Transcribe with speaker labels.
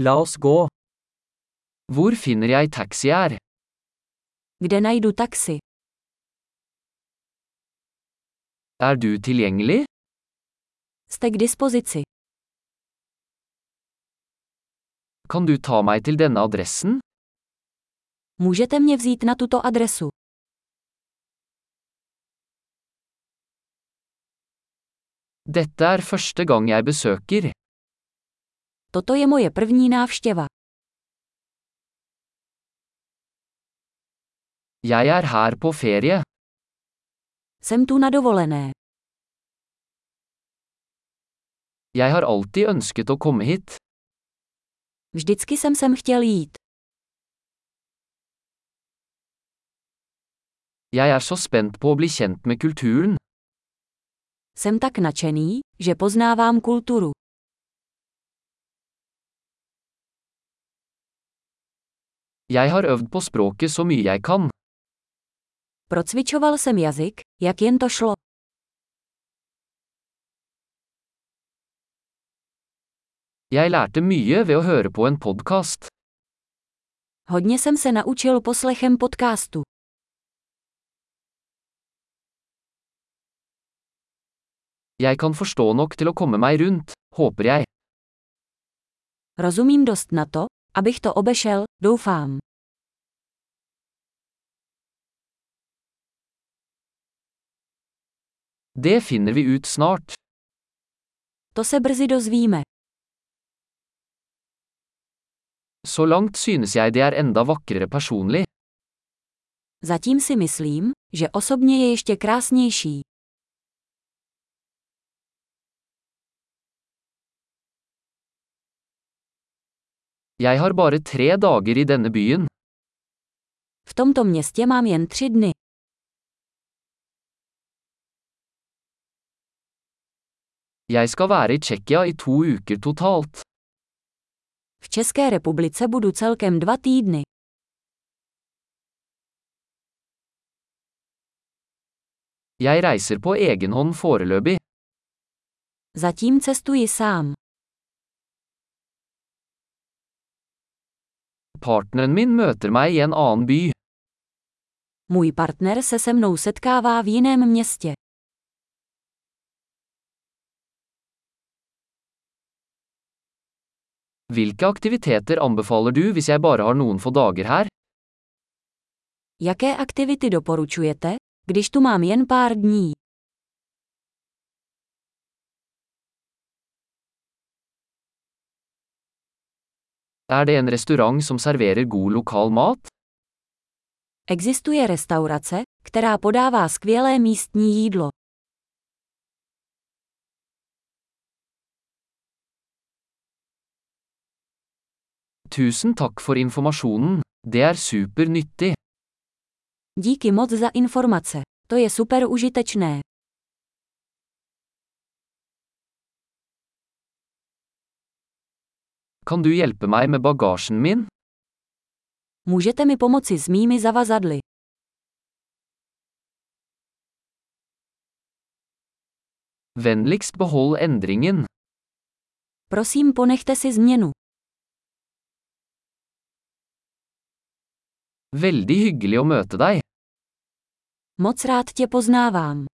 Speaker 1: La oss gå. Hvor finner jeg taxi her?
Speaker 2: Kde najdu taxi?
Speaker 1: Er du tilgjengelig?
Speaker 2: Jste k dispozici.
Speaker 1: Kan du ta meg til denne adressen?
Speaker 2: Můžete mě vzít na tuto adresu.
Speaker 1: Dette er første gang jeg besøker.
Speaker 2: Toto je moje první návštěva.
Speaker 1: Jeg er her på ferie.
Speaker 2: Jsem tu na dovolené.
Speaker 1: Jeg har alltid ønsket å komme hit.
Speaker 2: Vždycky jsem sem chtěl jít.
Speaker 1: Jeg er så spent på å bli kjent med kulturen.
Speaker 2: Jsem tak nadšený, že poznávám kulturu.
Speaker 1: Jeg har øvd på språket så mye jeg kan.
Speaker 2: Procvičoval jsem jazyk, jak jen to šlo.
Speaker 1: Jeg lærte mye ved å høre på en podkast.
Speaker 2: Hodně jsem se naučil poslechem podcastu.
Speaker 1: Jeg kan forstå nok til å komme meg rundt, håper jeg.
Speaker 2: Rozumím dost na to, abych to obešel, doufám.
Speaker 1: Det finner vi ut snart.
Speaker 2: To se brzy dozvíme.
Speaker 1: Så langt synes jeg det er enda vakrere personlig.
Speaker 2: Zatím si myslím, že osobně je ještě krásnější.
Speaker 1: Jeg har bare tre dager i denne byen.
Speaker 2: V tomto městě mám jen tři dny.
Speaker 1: Jeg skal være i Tsjekkia i to uker totalt.
Speaker 2: V České republice budu celkem dva týdny.
Speaker 1: Jeg reiser på egen hånd foreløpig.
Speaker 2: Zatím cestuji sám.
Speaker 1: Partneren min møter meg i en annen by.
Speaker 2: Můj partner se se mnou setkává v jiném městě.
Speaker 1: Hvilke aktiviteter anbefaler du hvis jeg bare har noen få dager her?
Speaker 2: Jaké aktivity doporučujete, když tu mám jen pár dní?
Speaker 1: Er det en restaurant som serverer god lokal mat?
Speaker 2: Existuje restaurace, která podává skvělé místní jídlo.
Speaker 1: Tusen takk for informasjonen, det er supernyttig.
Speaker 2: Díky moc za informace. To je super užitečné.
Speaker 1: Kan du hjelpe meg med bagasjen min?
Speaker 2: Můžete mi pomoci s mými zavazadly.
Speaker 1: Vennligst behold endringen.
Speaker 2: Prosím, ponechte si změnu.
Speaker 1: Veldig hyggelig å møte deg.
Speaker 2: Moc rád tě poznávám.